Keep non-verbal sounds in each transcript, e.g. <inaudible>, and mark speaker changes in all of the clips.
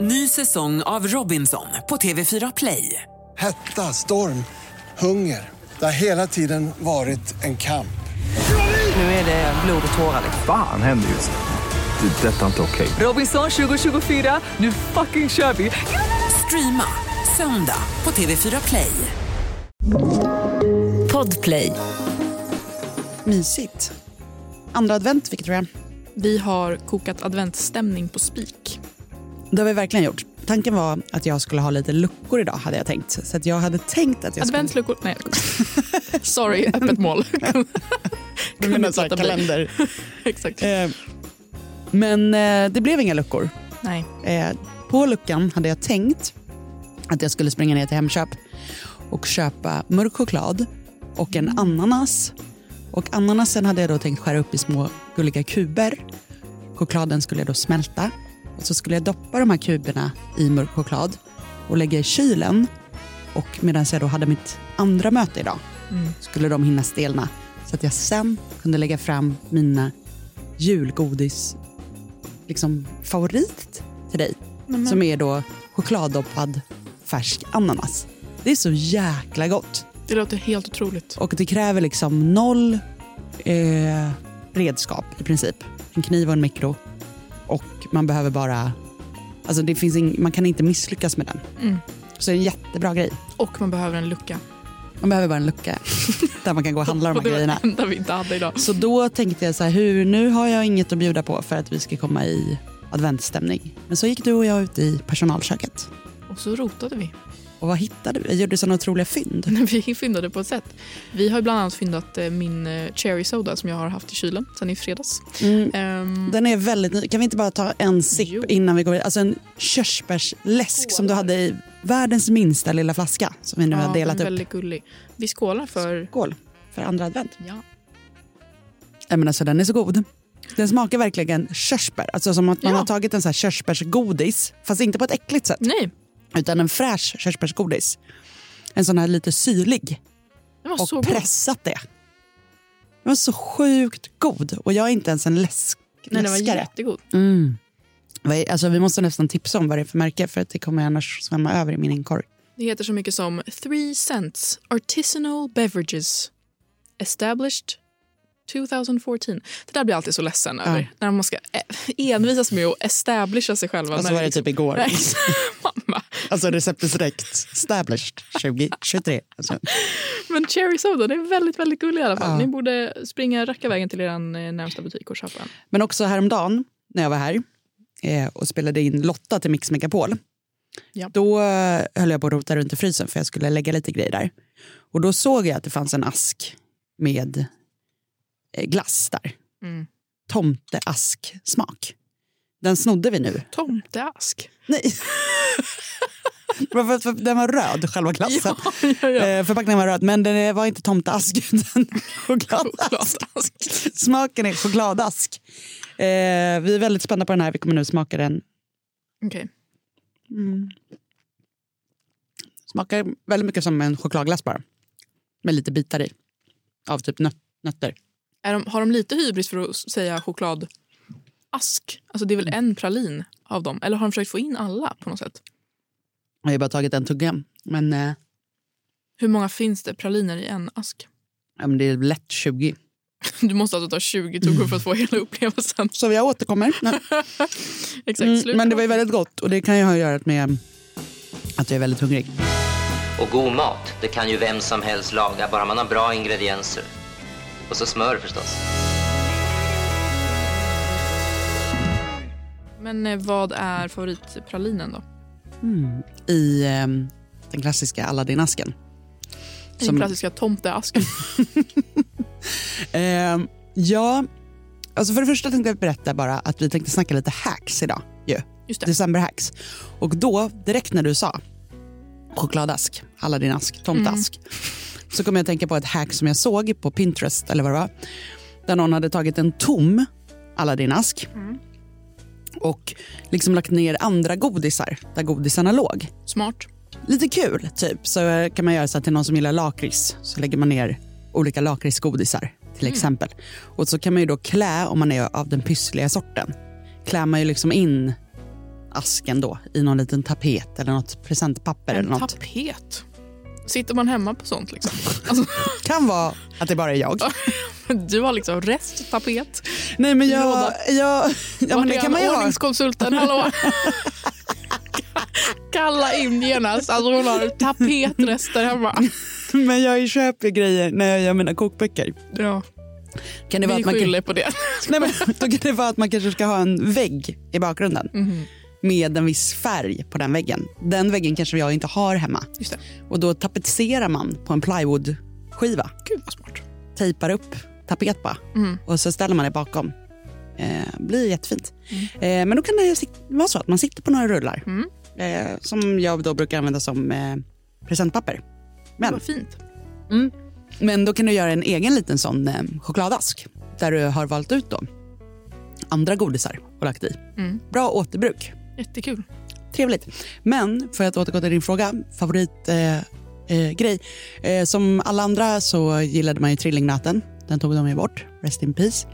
Speaker 1: Ny säsong av Robinson på TV4 Play.
Speaker 2: Hetta, storm, hunger. Det har hela tiden varit en kamp.
Speaker 1: Nu är det blod och tårar. liksom.
Speaker 3: Fan händer just nu. Det. är Detta är inte okej.
Speaker 1: Robinson 2024, nu fucking kör vi! Streama söndag på TV4 Play.
Speaker 4: Podplay.
Speaker 5: Mysigt. Andra advent, Victoria.
Speaker 6: Vi har kokat adventsstämning på spik.
Speaker 5: Det har vi verkligen gjort. Tanken var att jag skulle ha lite luckor idag, hade jag tänkt. Så att jag hade tänkt att jag skulle...
Speaker 6: Adventsluckor... Nej. <laughs> Sorry, öppet mål.
Speaker 5: Du menar så här
Speaker 6: Kunde inte låta bli.
Speaker 5: kalender.
Speaker 6: <laughs> Exakt.
Speaker 5: Eh, Men eh, det blev inga luckor.
Speaker 6: Nej.
Speaker 5: Eh, På luckan hade jag tänkt att jag skulle springa ner till Hemköp och köpa mörk choklad och en ananas. Och ananasen hade jag då tänkt skära upp i små gulliga kuber. Chokladen skulle jag då smälta. Och så skulle jag doppa de här kuberna i mörk choklad och lägga i kylen. Och medan jag då hade mitt andra möte idag skulle de hinna stelna. Så att jag sen kunde lägga fram mina julgodis liksom, favorit till dig. Som är då chokladdoppad färsk ananas. Det är så jäkla gott.
Speaker 6: Det låter helt otroligt.
Speaker 5: Och det kräver liksom noll eh, redskap i princip. En kniv och en mikro. Och man behöver bara... Alltså det finns ing, man kan inte misslyckas med den.
Speaker 6: Mm.
Speaker 5: Så det är en jättebra grej.
Speaker 6: Och man behöver en lucka.
Speaker 5: Man behöver bara en lucka <laughs> där man kan gå och handla de
Speaker 6: och
Speaker 5: här
Speaker 6: det var
Speaker 5: grejerna.
Speaker 6: det enda vi inte hade idag.
Speaker 5: Så då tänkte jag så här, hur, nu har jag inget att bjuda på för att vi ska komma i adventsstämning. Men så gick du och jag ut i personalköket.
Speaker 6: Och så rotade vi. <laughs>
Speaker 5: Och vad hittade vi? Jag gjorde sådana otroliga fynd.
Speaker 6: Vi fyndade på ett sätt. Vi har ju bland annat fyndat eh, min eh, cherry soda som jag har haft i kylen sen i fredags. Ehm,
Speaker 5: Eh, Den är väldigt ny. Kan vi inte bara ta en sipp
Speaker 6: Jo.
Speaker 5: innan vi går vidare? Alltså en körsbärsläsk som du hade i världens minsta lilla flaska som vi nu
Speaker 6: ja,
Speaker 5: har delat
Speaker 6: den är
Speaker 5: upp.
Speaker 6: Väldigt gullig. Vi skålar för...
Speaker 5: Skål för andra advent.
Speaker 6: Ja.
Speaker 5: Nej, men alltså, den är så god. Den smakar verkligen körsbär. Alltså som att man
Speaker 6: Ja.
Speaker 5: har tagit en så här körsbärsgodis, fast inte på ett äckligt sätt.
Speaker 6: Nej,
Speaker 5: utan en fräsch körsbärsgodis. En sån här lite syrlig
Speaker 6: den var
Speaker 5: och
Speaker 6: så god.
Speaker 5: pressat det. Den var så sjukt god och jag är inte ens en läsk
Speaker 6: Nej, den var
Speaker 5: läskare.
Speaker 6: jättegod.
Speaker 5: Mm. Vad är- Alltså, vi måste nästan tipsa om vad det är för märke för att det kommer annars svämma över i min inkorg.
Speaker 6: Det heter så mycket som Three Cents Artisanal Beverages Established 2014. Det där blir jag alltid så ledsen över. När man ska eh, envisas med att establisha sig själva.
Speaker 5: Och så
Speaker 6: när
Speaker 5: var det
Speaker 6: liksom-
Speaker 5: typ igår.
Speaker 6: Nej, <laughs> Mamma.
Speaker 5: <laughs> Alltså receptet direkt, established 2023. Alltså.
Speaker 6: Men cherry soda, det är väldigt, väldigt gullig i alla fall.
Speaker 5: Ja.
Speaker 6: Ni borde springa racka vägen till er eh, närmsta butik och köpa en.
Speaker 5: Men också häromdagen när jag var här eh, och spelade in Lotta till Mix Megapol.
Speaker 6: Ja.
Speaker 5: Då eh, höll jag på att rota runt i frysen för jag skulle lägga lite grejer där. Och då såg jag att det fanns en ask med eh, glass där.
Speaker 6: Mm.
Speaker 5: Tomteasksmak. Den snodde vi nu.
Speaker 6: Tomteask.
Speaker 5: Nej. Bara <laughs> för att- för att Den var röd, själva glassen.
Speaker 6: <laughs> ja, ja.
Speaker 5: Eh, Förpackningen var röd, men den var inte tomteask <laughs> utan chokladask.
Speaker 6: Chokladask.
Speaker 5: Smaken är chokladask. Eh, vi är väldigt spända på den här. Vi kommer nu smaka den.
Speaker 6: Okej. Mm.
Speaker 5: Smakar väldigt mycket som en chokladglass bara. Med lite bitar i. Av typ nöt- nötter.
Speaker 6: Är de, har de lite hybris för att s- säga chokladask? Alltså det är väl en pralin av dem? Eller har de försökt få in alla på något sätt?
Speaker 5: Jag har ju bara tagit en tugga. Men, eh,
Speaker 6: Hur många finns det praliner i en ask? <laughs>
Speaker 5: ja, men det är lätt 20.
Speaker 6: Du måste alltså ta 20 tuggor för att
Speaker 5: Mm.
Speaker 6: få hela upplevelsen. <laughs>
Speaker 5: Så jag återkommer. Nej.
Speaker 6: Exakt,
Speaker 5: Mm,
Speaker 6: slut.
Speaker 5: men det var ju väldigt gott. Och det kan ju ha att göra med att jag är väldigt hungrig.
Speaker 7: Och god mat, det kan ju vem som helst laga, bara man har bra ingredienser. Och så smör förstås.
Speaker 6: Men eh, vad är favoritpralinen då?
Speaker 5: I eh, den klassiska Aladdin-asken.
Speaker 6: Den
Speaker 5: Som- <laughs>
Speaker 6: klassiska tomteasken.
Speaker 5: Ehm, ja, alltså för det första tänkte jag berätta bara att vi tänkte snacka lite hacks idag. ju.
Speaker 6: Just det.
Speaker 5: Decemberhacks. Och då, direkt när du sa chokladask, alla din ask, tomtask,
Speaker 6: Mm.
Speaker 5: så kom jag att tänka på ett hack som jag såg på Pinterest eller vad det var. Där någon hade tagit en tom alla din ask
Speaker 6: Mm.
Speaker 5: och liksom lagt ner andra godisar där godisarna låg
Speaker 6: Smart.
Speaker 5: lite kul. typ. Så eh, kan man göra så att till någon som gillar lakrits så lägger man ner olika lakritsgodisar till exempel. Och så kan man ju då klä, om man är av den pyssliga sorten, klär man ju liksom in asken då i någon liten tapet eller något presentpapper. eller
Speaker 6: En
Speaker 5: något.
Speaker 6: tapet. Sitter man hemma på sånt liksom? <laughs> Alltså,
Speaker 5: kan vara att det bara är jag.
Speaker 6: du har liksom resttapet.
Speaker 5: Nej men jag...
Speaker 6: Låda.
Speaker 5: jag ja, men
Speaker 6: Vart
Speaker 5: det
Speaker 6: är
Speaker 5: kan man
Speaker 6: han?
Speaker 5: ju ha. <laughs>
Speaker 6: Ordningskonsulten, hallå? <laughs> Kalla in genast. Alltså hon har
Speaker 5: <laughs>
Speaker 6: tapetrester hemma.
Speaker 5: Men jag köper grejer när jag gör mina kokböcker.
Speaker 6: Ja,
Speaker 5: Kan det vara
Speaker 6: vi
Speaker 5: att man kan,
Speaker 6: skyller på det.
Speaker 5: <laughs> nej, men, då kan det vara att man kanske ska ha en vägg i bakgrunden med en viss färg på den väggen. Den väggen kanske jag inte har hemma.
Speaker 6: Just det.
Speaker 5: Och då tapetserar man på en plywoodskiva.
Speaker 6: Gud vad smart.
Speaker 5: Tejpar upp tapet bara. Och så ställer man det bakom. Eh, blir jättefint. Eh, men då kan det ju sit- vara så att man sitter på några rullar. Eh, som jag då brukar använda som eh, presentpapper. Men
Speaker 6: Vad fint.
Speaker 5: Men då kan du göra en egen liten sån eh, chokladask där du har valt ut då andra godisar och lagt i. Bra återbruk.
Speaker 6: Jättekul.
Speaker 5: Trevligt. Men för att återgå till din fråga, favoritgrej. Eh, eh, grej. eh, som alla andra så gillade man ju trillingnöten. Den tog de ju bort. Rest in peace.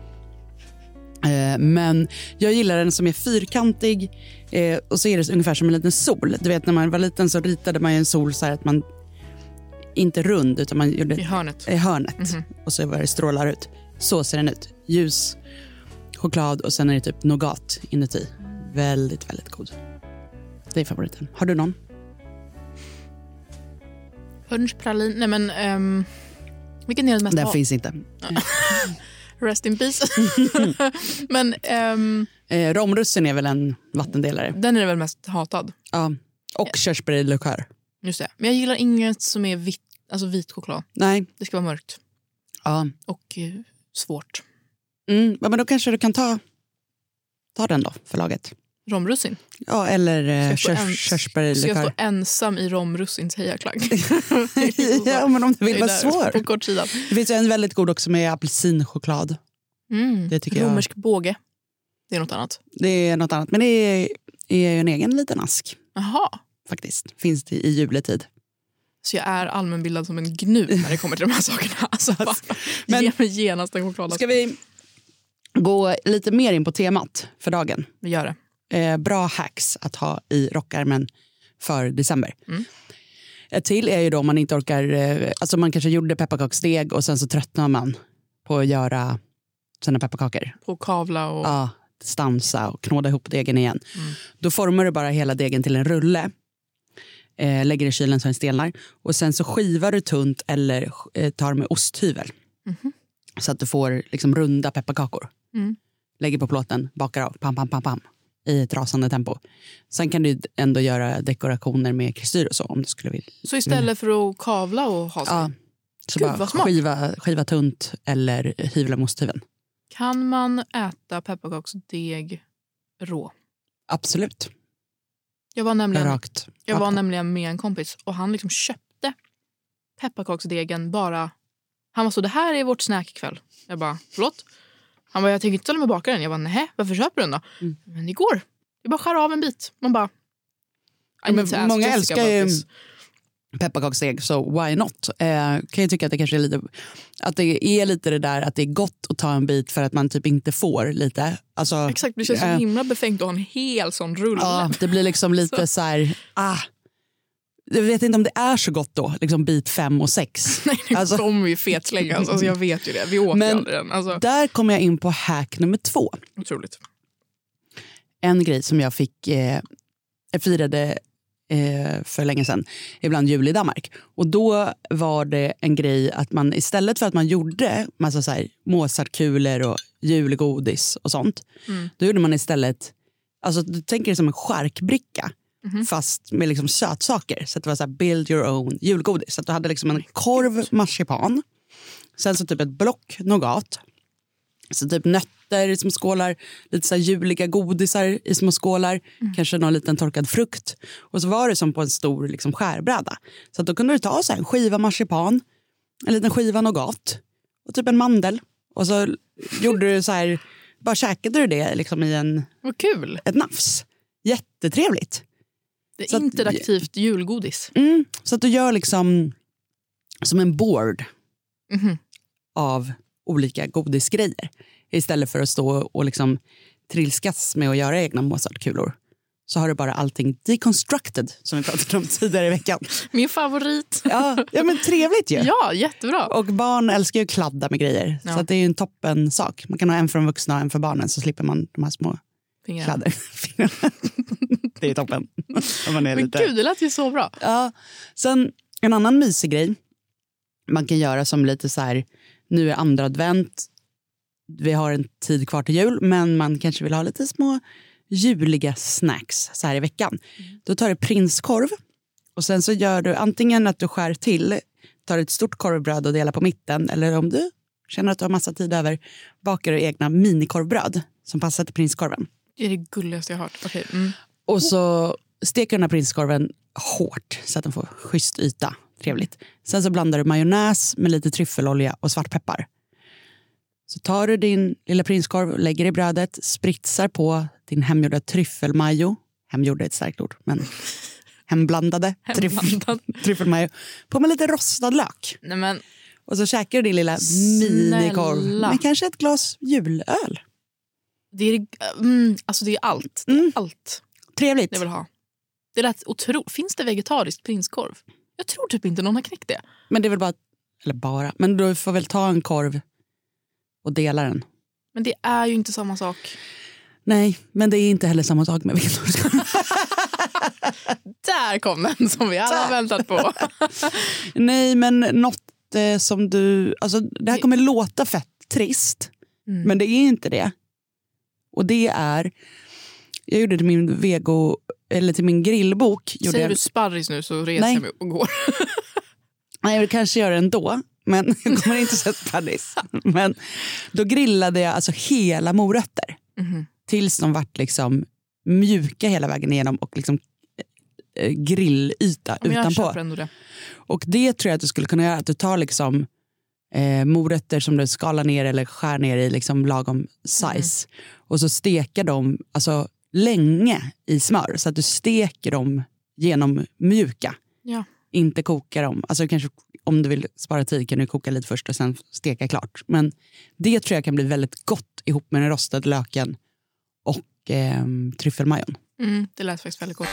Speaker 5: Eh, men jag gillar den som är fyrkantig eh, och så är det ungefär som en liten sol. Du vet när man var liten så ritade man ju en sol så här att man inte rund utan man gjorde
Speaker 6: I hörnet.
Speaker 5: i hörnet
Speaker 6: Mhm.
Speaker 5: och så var det strålar ut. Så ser den ut. Ljus choklad och sen är det typ nougat inuti. Väldigt, väldigt god. Det är favoriten. Har du någon?
Speaker 6: Punschpralin. Nej men, ehm, vilken är den mest
Speaker 5: Den
Speaker 6: av-
Speaker 5: finns inte.
Speaker 6: Rest in peace. <laughs> men ehm,
Speaker 5: Eh, romrussen är väl en vattendelare.
Speaker 6: den är väl mest hatad.
Speaker 5: Ja. Och körsbärslikör.
Speaker 6: Just det. Men jag gillar inget som är vitt, alltså vit choklad.
Speaker 5: Nej.
Speaker 6: Det ska vara mörkt
Speaker 5: Ja.
Speaker 6: och eh, svårt.
Speaker 5: Mm. ja, Men då kanske du kan ta, ta den då för laget.
Speaker 6: Romrussin.
Speaker 5: Ja, eller eh,
Speaker 6: Ska jag
Speaker 5: körs-
Speaker 6: stå ens- Ska jag
Speaker 5: körsbärslikör.
Speaker 6: stå ensam i
Speaker 5: <laughs>
Speaker 6: romrussins hejarklack?
Speaker 5: Ja, men om du
Speaker 6: Jag
Speaker 5: vill
Speaker 6: är
Speaker 5: vara
Speaker 6: där
Speaker 5: svår.
Speaker 6: På kortsidan.
Speaker 5: Det finns ju en väldigt god också med apelsinchoklad.
Speaker 6: Mm.
Speaker 5: Det tycker jag-
Speaker 6: Romersk båge. Det är något annat.
Speaker 5: Det är något annat, men det är, är ju en egen liten ask
Speaker 6: Jaha.
Speaker 5: faktiskt. Finns det i juletid.
Speaker 6: Så jag är allmänbildad som en gnu när det kommer till de här sakerna. <laughs> Alltså, bara,
Speaker 5: men-
Speaker 6: Ge mig genast en chokladask.
Speaker 5: Ska vi gå lite mer in på temat för dagen?
Speaker 6: Vi gör det.
Speaker 5: Eh, bra hacks att ha i rockärmen för december. Ett till är ju då om man inte orkar, eh, alltså man kanske gjorde pepparkaksdeg och sen så tröttnar man på att göra sina pepparkakor.
Speaker 6: På kavla och...
Speaker 5: Ja, stansa och knåda ihop degen igen. Då formar du bara hela degen till en rulle. Eh, lägger i kylen så den stelnar. Och sen så skivar du tunt eller eh, tar med osthyvel. Så att du får liksom runda pepparkakor.
Speaker 6: Mhm. Mm.
Speaker 5: Lägger på plåten, bakar av, pam, pam, pam, pam. I ett rasande tempo. Sen kan du ändå göra dekorationer med kristyr och så om du skulle vilja.
Speaker 6: Så istället för att kavla och ha sig,
Speaker 5: Mm. Ja. Så
Speaker 6: Gud,
Speaker 5: bara
Speaker 6: vad smart.
Speaker 5: skiva, skiva tunt eller hyvla med osthyveln.
Speaker 6: kan man äta pepparkaksdeg rå?
Speaker 5: Absolut.
Speaker 6: Jag var nämligen,
Speaker 5: Rakt.
Speaker 6: jag var
Speaker 5: rakt.
Speaker 6: nämligen med en kompis och han liksom köpte pepparkaksdegen bara... Han var så, det här är vårt snack ikväll. Jag bara, förlåt? Han bara, jag tänker inte ställa mig och baka den. Jag bara, nej, varför köper du den då?
Speaker 5: Mm.
Speaker 6: Men det går. Det är bara att skära av en bit. Man bara... I
Speaker 5: Ja, men
Speaker 6: need to ask
Speaker 5: många
Speaker 6: Jessica
Speaker 5: älskar
Speaker 6: about
Speaker 5: ju-
Speaker 6: this.
Speaker 5: pepparkaksdeg, så why not? Eh, kan jag tycka att det kanske är lite, att det är lite det där att det är gott att ta en bit för att man typ inte får lite. Alltså,
Speaker 6: Exakt, det känns så
Speaker 5: eh,
Speaker 6: himla befängt att ha en hel sån rulle.
Speaker 5: Ja, det blir liksom lite så här, ah, jag vet inte om det är så gott då, liksom bit fem och
Speaker 6: <laughs>
Speaker 5: sex.
Speaker 6: Nu
Speaker 5: Alltså-
Speaker 6: kommer vi fetslänga oss. Alltså, jag vet ju det. Vi åt
Speaker 5: Men-
Speaker 6: ju aldrig den. Alltså,
Speaker 5: Där kommer jag in på hack nummer två.
Speaker 6: otroligt.
Speaker 5: en grej som jag fick, eh, jag firade eh, för länge sedan, ibland jul i Danmark. Och då var det en grej att man istället för att man gjorde massa så här Mozartkulor och julgodis och sånt, då gjorde man istället, alltså du tänker det som en charkbricka fast med liksom sötsaker. Så att det var så här build your own julgodis. Så att du hade liksom en korv marsipan, sen så typ ett block nougat, så typ nötter i små skålar, lite så här juliga godisar i små skålar, kanske någon liten torkad frukt. Och så var det som på en stor liksom, skärbräda. Så att då kunde du ta så här, en skiva marsipan, en liten skiva nougat och typ en mandel. Och så gjorde du så här, bara käkade du det liksom, i en,
Speaker 6: Vad kul!
Speaker 5: ett nafs. Jättetrevligt.
Speaker 6: Det är
Speaker 5: Så att-
Speaker 6: interaktivt julgodis.
Speaker 5: Mm. Så att du gör liksom som en board
Speaker 6: Mhm.
Speaker 5: av olika godisgrejer istället för att stå och liksom trilskas med att göra egna Mozartkulor. så har du bara allting deconstructed som vi pratade om <laughs> tidigare i veckan.
Speaker 6: Min favorit.
Speaker 5: Ja, ja men trevligt ju.
Speaker 6: Ja, jättebra.
Speaker 5: Och barn älskar ju att kladda med grejer.
Speaker 6: Ja.
Speaker 5: Så att det är ju en toppen sak. Man kan ha en för de vuxna och en för barnen så slipper man de här små
Speaker 6: Fingrar.
Speaker 5: kladder. <laughs> det är toppen. Om man är
Speaker 6: Men
Speaker 5: lite...
Speaker 6: gud, det lät ju så bra.
Speaker 5: Ja. Sen en annan mysig grej man kan göra som lite så här, nu är andra advent, vi har en tid kvar till jul, men man kanske vill ha lite små juliga snacks så här i veckan. Då tar du prinskorv och sen så gör du antingen att du skär till, tar ett stort korvbröd och delar på mitten, eller om du känner att du har massa tid över, bakar du egna minikorvbröd som passar till prinskorven.
Speaker 6: Det är det gulligaste jag har hört. Okej, mm.
Speaker 5: Och så steker du den här prinskorven hårt så att den får schysst yta. Trevligt. Sen så blandar du majonnäs med lite tryffelolja och svartpeppar. Så tar du din lilla prinskorv och lägger i brödet, spritsar på din hemgjorda tryffelmajo. Hemgjorda är ett starkt ord, men hemblandade,
Speaker 6: Hemblandad.
Speaker 5: Tryff, tryffelmajo. På med lite rostad lök.
Speaker 6: Nej, men,
Speaker 5: Och så käkar du din lilla
Speaker 6: Snälla.
Speaker 5: minikorv med kanske ett glas julöl.
Speaker 6: det, är, det- mm, alltså det är allt. Det är
Speaker 5: Mm.
Speaker 6: allt
Speaker 5: Trevligt.
Speaker 6: jag vill ha. Det lät otro... Finns det vegetariskt prinskorv? Jag tror typ inte någon har knäckt det.
Speaker 5: Men det är väl bara, eller bara, men du får väl ta en korv och dela den.
Speaker 6: Men det är ju inte samma sak.
Speaker 5: Nej, men det är inte heller samma sak med vegetarisk
Speaker 6: <laughs>
Speaker 5: korv.
Speaker 6: Där kom den som vi alla
Speaker 5: Där.
Speaker 6: väntat
Speaker 5: <laughs>
Speaker 6: på.
Speaker 5: Nej, men något eh, som du, alltså det här kommer låta fett trist,
Speaker 6: Mm.
Speaker 5: men det är inte det. Och det är, jag gjorde till min vego, eller till min grillbok, gjorde
Speaker 6: Säger
Speaker 5: jag,
Speaker 6: du sparris nu så reser
Speaker 5: Nej.
Speaker 6: jag mig och går.
Speaker 5: nej jag kanske gör det ändå,
Speaker 6: <laughs>
Speaker 5: men jag kommer inte säga sparris. Men då grillade jag alltså hela morötter.
Speaker 6: Mhm.
Speaker 5: tills de vart liksom mjuka hela vägen igenom och liksom eh, grillyta
Speaker 6: Ja, men jag
Speaker 5: utanpå.
Speaker 6: köper ändå det.
Speaker 5: Och det tror jag att du skulle kunna göra, att du tar liksom eh, morötter som du skalar ner eller skär ner i liksom lagom size
Speaker 6: Mhm.
Speaker 5: och så steka dem alltså, länge i smör så att du steker dem genom mjuka.
Speaker 6: Ja.
Speaker 5: Inte koka dem. Alltså du kanske, om du vill spara tid kan du koka lite först och sen steka klart. Men det tror jag kan bli väldigt gott ihop med den rostade löken och eh, tryffelmajon.
Speaker 6: Mm, det lät faktiskt väldigt gott.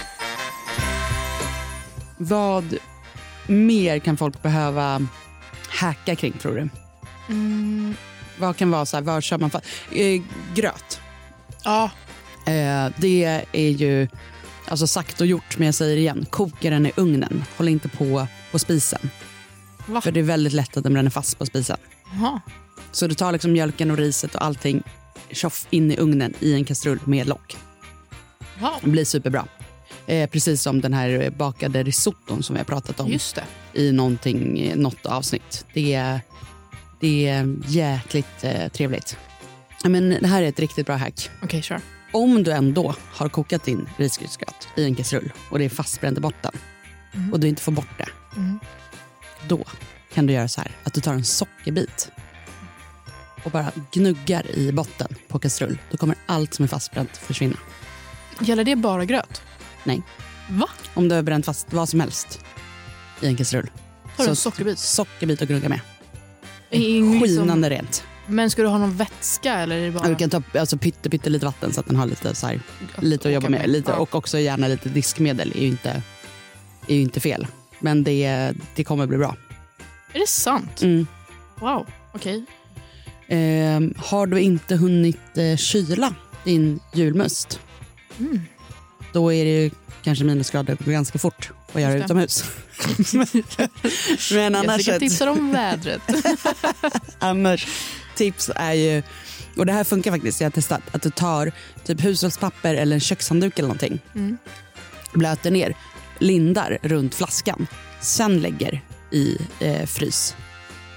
Speaker 5: Vad mer kan folk behöva hacka kring tror du?
Speaker 6: Mm.
Speaker 5: Vad kan vara så här, vad kör man fast? Eh, gröt.
Speaker 6: Ja,
Speaker 5: Eh, det är ju alltså sagt och gjort, men jag säger igen. Koka den i ugnen. Håll inte på på spisen.
Speaker 6: Va?
Speaker 5: För det är väldigt lätt att den bränner fast på spisen.
Speaker 6: Jaha.
Speaker 5: Så du tar liksom mjölken och riset och allting tjoff in i ugnen i en kastrull med lock.
Speaker 6: Ja,
Speaker 5: Det blir superbra. Eh, precis som den här eh, bakade risotton som vi har pratat om
Speaker 6: just det.
Speaker 5: i någonting, eh, något avsnitt. Det är, det är jäkligt eh, trevligt. Ja, Men det här är ett riktigt bra hack.
Speaker 6: Okej, kör.
Speaker 5: Om du ändå har kokat din risgrynsgröt i en kastrull och det är fastbränt i botten och du inte får bort det.
Speaker 6: Mm.
Speaker 5: Då kan du göra så här att du tar en sockerbit och bara gnuggar i botten på kastrull. Då kommer allt som är fastbränt försvinna.
Speaker 6: Gäller det bara gröt?
Speaker 5: Nej.
Speaker 6: Va?
Speaker 5: Om du har bränt fast vad som helst i en kastrull.
Speaker 6: Har du en
Speaker 5: Så-
Speaker 6: sockerbit?
Speaker 5: Sockerbit och gnugga med.
Speaker 6: Ingen liksom-
Speaker 5: Skinande rent.
Speaker 6: Men ska du ha någon vätska eller är det bara...
Speaker 5: Du kan ta alltså, pytte, pytte lite vatten så att den har lite, så här, lite att jobba
Speaker 6: åka
Speaker 5: med.
Speaker 6: med.
Speaker 5: Lite,
Speaker 6: Ja.
Speaker 5: och också gärna lite diskmedel är ju inte, är ju inte fel. Men det, det kommer bli bra.
Speaker 6: Är det sant?
Speaker 5: Mm.
Speaker 6: Wow. Okej.
Speaker 5: Ehm, har du inte hunnit eh, kyla din julmust
Speaker 6: Mm.
Speaker 5: då är det ju kanske minusgrader ganska fort att göra
Speaker 6: Just det.
Speaker 5: utomhus. <laughs> Men annars...
Speaker 6: Jessica
Speaker 5: ett-
Speaker 6: tipsar om vädret.
Speaker 5: <laughs> Annars tips är ju, och det här funkar faktiskt, jag har testat, att du tar typ hushållspapper eller en kökshandduk eller någonting,
Speaker 6: Mm.
Speaker 5: blöter ner, lindar runt flaskan, sen lägger i eh, frys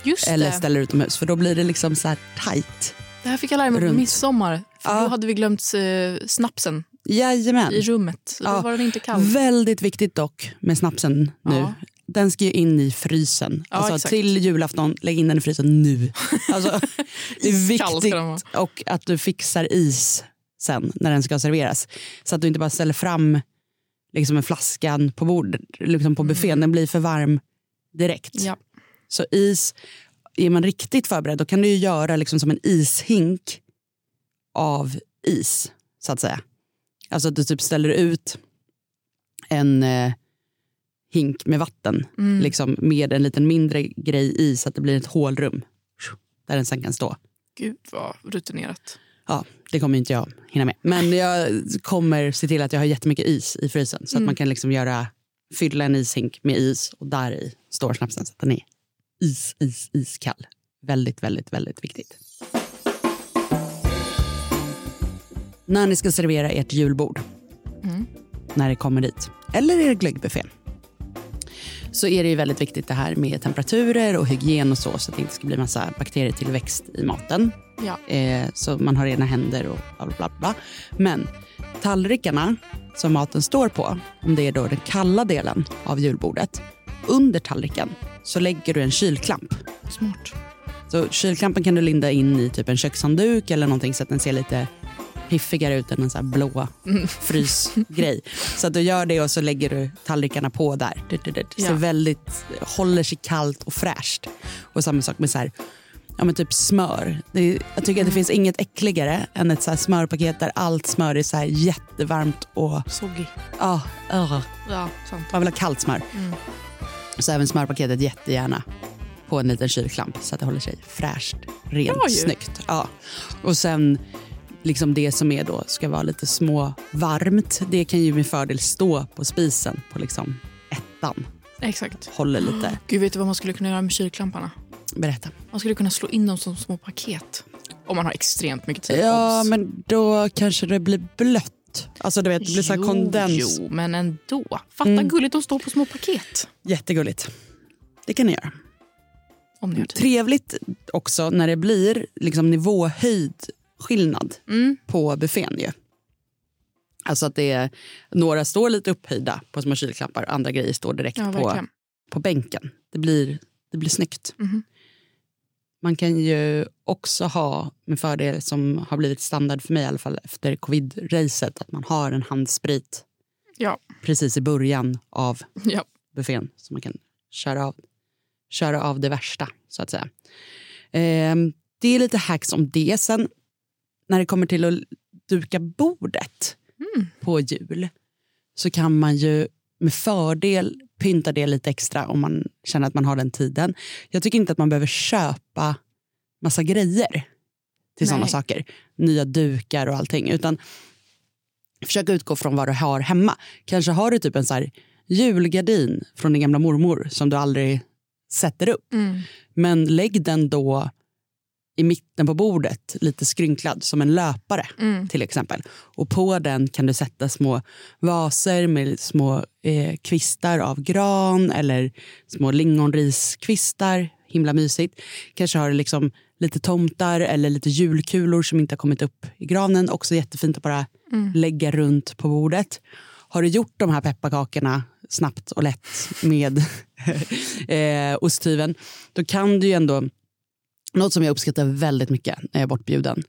Speaker 6: Just
Speaker 5: eller
Speaker 6: det.
Speaker 5: ställer utomhus för då blir det liksom så här tajt.
Speaker 6: Det här fick jag lära mig på
Speaker 5: Runt.
Speaker 6: midsommar. För
Speaker 5: Ja.
Speaker 6: Då hade vi glömt eh, snapsen
Speaker 5: Jajamän.
Speaker 6: i rummet. Så Då
Speaker 5: Ja.
Speaker 6: var den inte kall.
Speaker 5: Väldigt viktigt dock med snapsen nu.
Speaker 6: Ja.
Speaker 5: Den ska ju in i frysen.
Speaker 6: Ja,
Speaker 5: alltså
Speaker 6: exakt.
Speaker 5: till julafton, lägg in den i frysen
Speaker 6: <laughs>
Speaker 5: nu. Alltså, det är
Speaker 6: Iskall ska
Speaker 5: viktigt.
Speaker 6: den vara.
Speaker 5: Och att du fixar is sen när den ska serveras. Så att du inte bara ställer fram liksom en flaskan på bordet, liksom på buffén. Den blir för varm direkt.
Speaker 6: Mm. Ja.
Speaker 5: Så is, är man riktigt förberedd då kan du ju göra liksom som en ishink av is, så att säga. Alltså att du typ ställer ut en eh, hink med vatten liksom med en liten mindre grej i så att det blir ett hålrum där den sen kan stå.
Speaker 6: Gud vad rutinerat.
Speaker 5: Ja, det kommer ju inte jag hinna med. Men jag kommer se till att jag har jättemycket is i frysen så att man kan liksom göra, fylla en ishink med is och där i står snapsen så att den är is, is, iskall. Väldigt, väldigt, väldigt viktigt. När ni ska servera ert julbord, när det kommer dit, eller er glöggbuffé så är det ju väldigt viktigt det här med temperaturer och hygien och så så att det inte ska bli massa bakterietillväxt i maten.
Speaker 6: Ja.
Speaker 5: Eh, så man har rena händer och bla bla bla. Men tallrikarna som maten står på, om det är då den kalla delen av julbordet, under tallriken så lägger du en kylklamp.
Speaker 6: Smart.
Speaker 5: Så kylklampen kan du linda in i typ en kökshandduk eller någonting så att den ser lite piffigare ut än en sån här blå frysgrej. Så att du gör det och så lägger du tallrikarna på där. Det, det, det. det ser
Speaker 6: Ja.
Speaker 5: väldigt, håller sig kallt och fräscht. Och samma sak med så här, ja men typ smör. Det, är- jag tycker
Speaker 6: Mm.
Speaker 5: att det finns inget äckligare än ett så här smörpaket där allt smör är så här jättevarmt och
Speaker 6: Soggy.
Speaker 5: ah, ah,
Speaker 6: Ja, sant.
Speaker 5: man vill ha kallt smör.
Speaker 6: Mm.
Speaker 5: Så även smörpaketet jättegärna på en liten kylklamp så att det håller sig fräscht, rent,
Speaker 6: Bra ju.
Speaker 5: snyggt. Ja. Och sen liksom det som är då ska vara lite små varmt. Det kan ju med fördel stå på spisen på liksom ettan.
Speaker 6: Exakt.
Speaker 5: Håller
Speaker 6: <gasps>
Speaker 5: lite.
Speaker 6: Gud, vet du vad man skulle kunna göra med kylklamparna?
Speaker 5: Berätta.
Speaker 6: Man skulle kunna slå in dem som små paket. Om man har extremt mycket tid.
Speaker 5: Ja,
Speaker 6: obs.
Speaker 5: men då kanske det blir blött. Alltså du vet, det blir så här
Speaker 6: Jo,
Speaker 5: kondens. Mm.
Speaker 6: Jo, men ändå. Fatta gulligt att stå på små paket.
Speaker 5: Jättegulligt. Det kan ni göra.
Speaker 6: Om ni har tid.
Speaker 5: Trevligt också när det blir liksom nivåhöjdskillnad
Speaker 6: Mm.
Speaker 5: på buffén. Ju. Alltså att det är, några står lite upphöjda på små kylklampar, andra grejer står direkt
Speaker 6: Ja,
Speaker 5: på,
Speaker 6: verkligen. Mhm.
Speaker 5: på bänken. Det blir, det blir snyggt. Man kan ju också ha, med fördel som har blivit standard för mig i alla fall efter covid-racet, att man har en handsprit
Speaker 6: Ja.
Speaker 5: precis i början av
Speaker 6: ja.
Speaker 5: buffén så man kan köra av, köra av det värsta, så att säga. Ehm, det är lite hacks om det. Sen när det kommer till att duka bordet på jul så kan man ju med fördel pynta det lite extra om man känner att man har den tiden. Jag tycker inte att man behöver köpa massa grejer till sådana
Speaker 6: Nej.
Speaker 5: saker. Nya dukar och allting. Utan försök utgå från vad du har hemma. Kanske har du typ en så här julgardin från din gamla mormor som du aldrig sätter upp. Men lägg den då i mitten på bordet, lite skrynklad, som en löpare till exempel. Och på den kan du sätta små vaser med små eh, kvistar av gran eller små lingonriskvistar. Himla mysigt. Kanske har du liksom lite tomtar eller lite julkulor som inte har kommit upp i granen. Också jättefint att bara lägga runt på bordet. Har du gjort de här pepparkakorna snabbt och lätt med <laughs> eh, osthyveln, då kan du ju ändå något som jag uppskattar väldigt mycket när jag är bortbjuden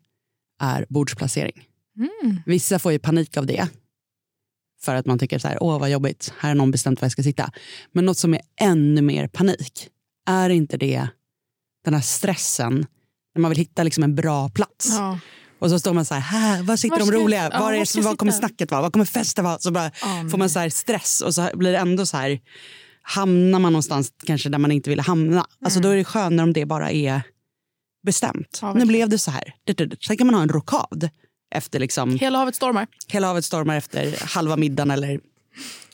Speaker 5: är bordsplacering.
Speaker 6: Mm.
Speaker 5: Vissa får ju panik av det. För att man tycker så här, åh vad jobbigt, här har någon bestämt var jag ska sitta. Men något som är ännu mer panik, är inte det den här stressen när man vill hitta liksom en bra plats.
Speaker 6: Ja.
Speaker 5: Och så står man så här, här var sitter
Speaker 6: Var
Speaker 5: de
Speaker 6: ska-
Speaker 5: roliga?
Speaker 6: ja,
Speaker 5: var är,
Speaker 6: var ska
Speaker 5: var
Speaker 6: jag
Speaker 5: kommer
Speaker 6: sitta?
Speaker 5: snacket vara? Var kommer festen vara? Så bara
Speaker 6: Ja,
Speaker 5: får man så här stress och så blir det ändå så här, hamnar man någonstans kanske där man inte ville hamna. Alltså då är det skönare om det bara är bestämt.
Speaker 6: Mm. Ja,
Speaker 5: nu
Speaker 6: verkligen.
Speaker 5: blev det så här. Det- det- det. Sen kan man ha en rokad efter liksom,
Speaker 6: Hela havet stormar.
Speaker 5: hela havet stormar efter halva middagen eller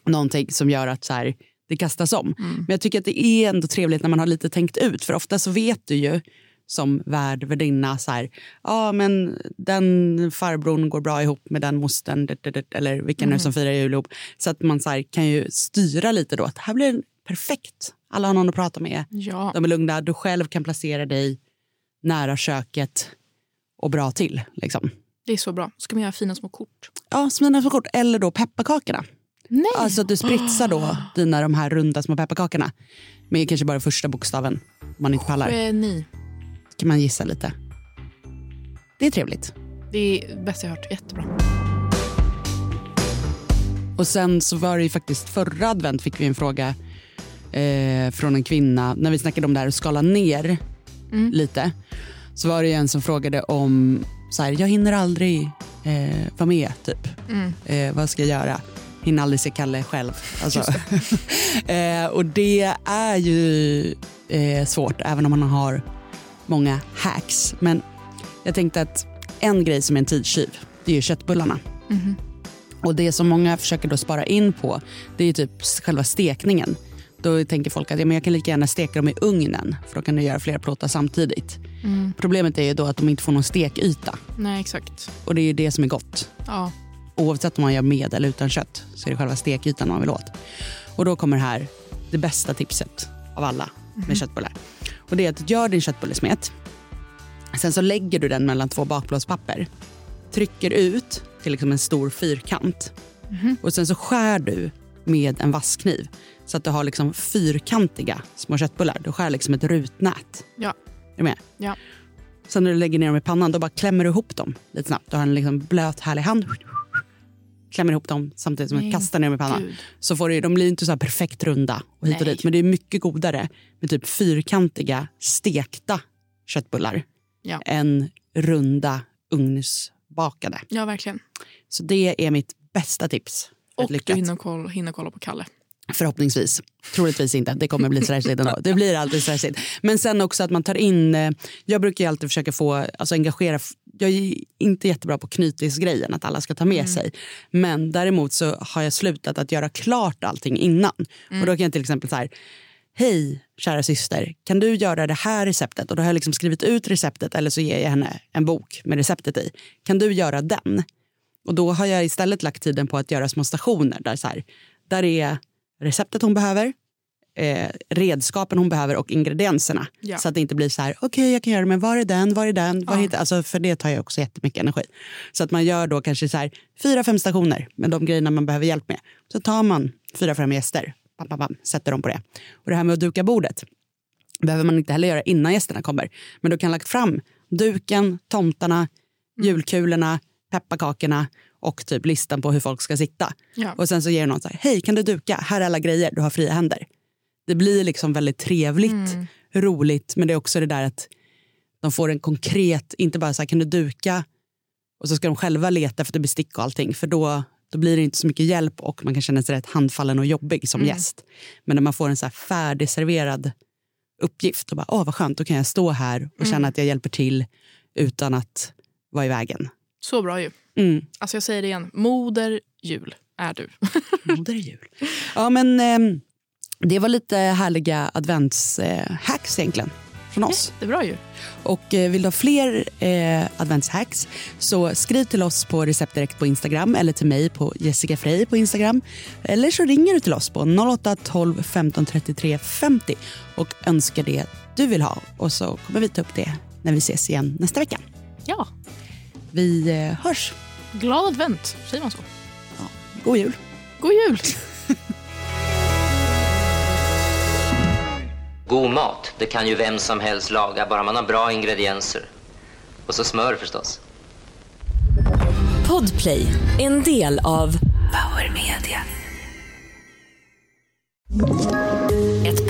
Speaker 5: någonting som gör att så här, det kastas om. Men jag tycker att det är ändå trevligt när man har lite tänkt ut. För ofta så vet du ju som värd, värdinna, så här, ja men den farbrorn går bra ihop med den mostern, det, det, det, eller vilka nu som firar jul ihop. Så att man så här, kan ju styra lite då, att det här blir perfekt. Alla har någon att prata med,
Speaker 6: Ja.
Speaker 5: de är lugna, du själv kan placera dig nära köket och bra till. Liksom.
Speaker 6: Det är så bra. Ska man göra fina små kort?
Speaker 5: Ja, smina små kort. Eller då pepparkakorna.
Speaker 6: Nej!
Speaker 5: Alltså att du spritsar då dina de här runda små pepparkakorna. Med kanske bara första bokstaven. Om man inte pallar.
Speaker 6: Geni.
Speaker 5: kan man gissa lite. Det är trevligt.
Speaker 6: Det är det bästa jag hört. Jättebra.
Speaker 5: Och sen så var det ju faktiskt förra advent fick vi en fråga eh, från en kvinna. När vi snackade om det här att skala ner lite. Så var det ju en som frågade om så här, jag hinner aldrig eh, vara med, typ. Eh, vad ska jag göra? Hinner aldrig se Kalle själv. Alltså. <laughs> eh, och det är ju eh, svårt, även om man har många hacks. Men jag tänkte att en grej som är en tidstjuv, det är ju köttbullarna. Och det som många försöker då spara in på, det är ju typ själva stekningen. Då tänker folk att ja, men jag kan lika gärna steka dem i ugnen, för då kan du göra flera plåtar samtidigt. Problemet är ju då att de inte får någon stekyta.
Speaker 6: Nej, exakt.
Speaker 5: Och det är ju det som är gott.
Speaker 6: Ja.
Speaker 5: Oavsett om man gör med eller utan kött så är det själva stekytan man vill åt. Och då kommer här det bästa tipset av alla med köttbullar. Och det är att gör din köttbullesmet. Sen så lägger du den mellan två bakblåspapper. Trycker ut till liksom en stor fyrkant. Och sen så skär du med en vasskniv. Så att du har liksom fyrkantiga små köttbullar. Du skär liksom ett rutnät.
Speaker 6: Ja.
Speaker 5: Är du med?
Speaker 6: Ja.
Speaker 5: Sen när du lägger ner dem i pannan, då bara klämmer du ihop dem lite snabbt. Du har en liksom blöt, härlig hand. Klämmer ihop dem samtidigt som du
Speaker 6: Nej,
Speaker 5: kastar ner dem i pannan.
Speaker 6: gud.
Speaker 5: Så får du, de blir ju inte så här perfekt runda och hit och
Speaker 6: Nej.
Speaker 5: dit. Men det är mycket godare med typ fyrkantiga, stekta köttbullar
Speaker 6: Ja.
Speaker 5: än runda, ugnsbakade.
Speaker 6: ja, verkligen.
Speaker 5: Så det är mitt bästa tips. för ett
Speaker 6: Och du hinner kolla, hinner kolla på Kalle.
Speaker 5: Förhoppningsvis. Troligtvis inte. Det kommer bli stressigt ändå. Det blir alltid stressigt. Men sen också att man tar in... eh, Jag brukar ju alltid försöka få... Alltså engagera... f- Jag är ju inte jättebra på knytningsgrejen, att alla ska ta med sig. Men däremot så har jag slutat att göra klart allting innan. Och då kan jag till exempel så här... Hej, kära syster, kan du göra det här receptet? Och då har jag liksom skrivit ut receptet eller så ger jag henne en bok med receptet i. Kan du göra den? Och då har jag istället lagt tiden på att göra små stationer där, så här, där är receptet hon behöver, eh, redskapen hon behöver och ingredienserna.
Speaker 6: Ja.
Speaker 5: Så att det inte blir så här, okej jag kan göra det men var är den, var är den, var hittar, alltså för det tar jag också jättemycket energi. Så att man gör då kanske så här fyra, fem stationer med de grejerna man behöver hjälp med. Så tar man fyra, fem gäster, bam, bam, bam, sätter dem på det. Och det här med att duka bordet, behöver man inte heller göra innan gästerna kommer. Men du kan lagt fram duken, tomtarna, julkulorna, pepparkakorna och typ listan på hur folk ska sitta.
Speaker 6: Ja.
Speaker 5: Och sen så ger du någon så här, hej kan du duka? Här är alla grejer, du har fria händer. Det blir liksom väldigt trevligt, roligt, men det är också det där att de får en konkret, inte bara så här kan du duka? Och så ska de själva leta efter bestick och allting, för då, då blir det inte så mycket hjälp och man kan känna sig rätt handfallen och jobbig som gäst. Men när man får en så här färdigserverad uppgift och bara, åh vad skönt, då kan jag stå här och känna att jag hjälper till utan att vara i vägen.
Speaker 6: Så bra ju.
Speaker 5: Mm.
Speaker 6: Alltså jag säger det igen, moder jul är du.
Speaker 5: <laughs>
Speaker 6: <laughs>
Speaker 5: Moder jul. Ja, men ehm, det var lite härliga adventshacks egentligen från oss.
Speaker 6: Det är bra ju.
Speaker 5: Och eh, vill du ha fler eh, adventshacks så skriv till oss på Recept direkt på Instagram eller till mig på Jessica Frey på Instagram. Eller så ringer du till oss på 08 12 15 33 50 och önskar det du vill ha. Och så kommer vi ta upp det när vi ses igen nästa vecka.
Speaker 6: Ja,
Speaker 5: Vi eh, hörs.
Speaker 6: glad advent. Säger man så?
Speaker 5: God jul.
Speaker 6: God jul!
Speaker 7: God mat, det kan ju vem som helst laga, bara man har bra ingredienser. Och så smör förstås.
Speaker 4: Podplay, en del av Power Media. Ett